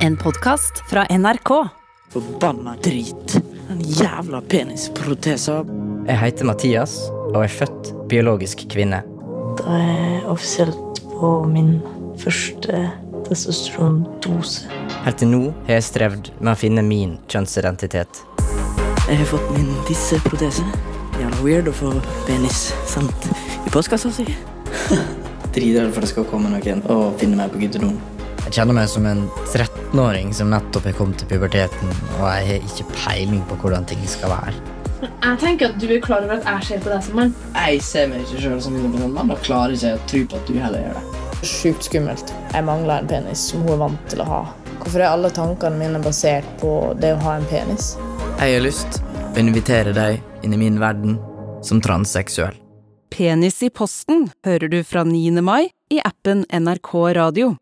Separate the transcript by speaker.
Speaker 1: En podkast fra NRK.
Speaker 2: Forbanna drit. Den jævla penisprotesa.
Speaker 3: Jeg heter Mathias, og er født biologisk kvinne.
Speaker 4: Da er jeg offisielt på min første testosterondose.
Speaker 3: Helt til nå har jeg strevd med å finne min kjønnsidentitet.
Speaker 2: Jeg har fått min tisseprotese. Jævla weird å få penis sendt i postkassa si. Dritredd for det skal komme noen og finne meg på guttedoen.
Speaker 3: Jeg kjenner meg som en 13-åring som nettopp er kommet til puberteten, og jeg har ikke peiling på hvordan ting skal være.
Speaker 5: Jeg tenker at du er klar over at jeg ser på deg som mann.
Speaker 2: Jeg ser meg ikke sjøl som 100 mann og klarer ikke å tro på at du heller gjør det.
Speaker 6: Sjukt skummelt. Jeg mangler en penis som hun er vant til å ha. Hvorfor er alle tankene mine basert på det å ha en penis?
Speaker 3: Jeg har lyst å invitere deg inn i min verden som transseksuell.
Speaker 1: Penis i posten hører du fra 9. mai i appen NRK Radio.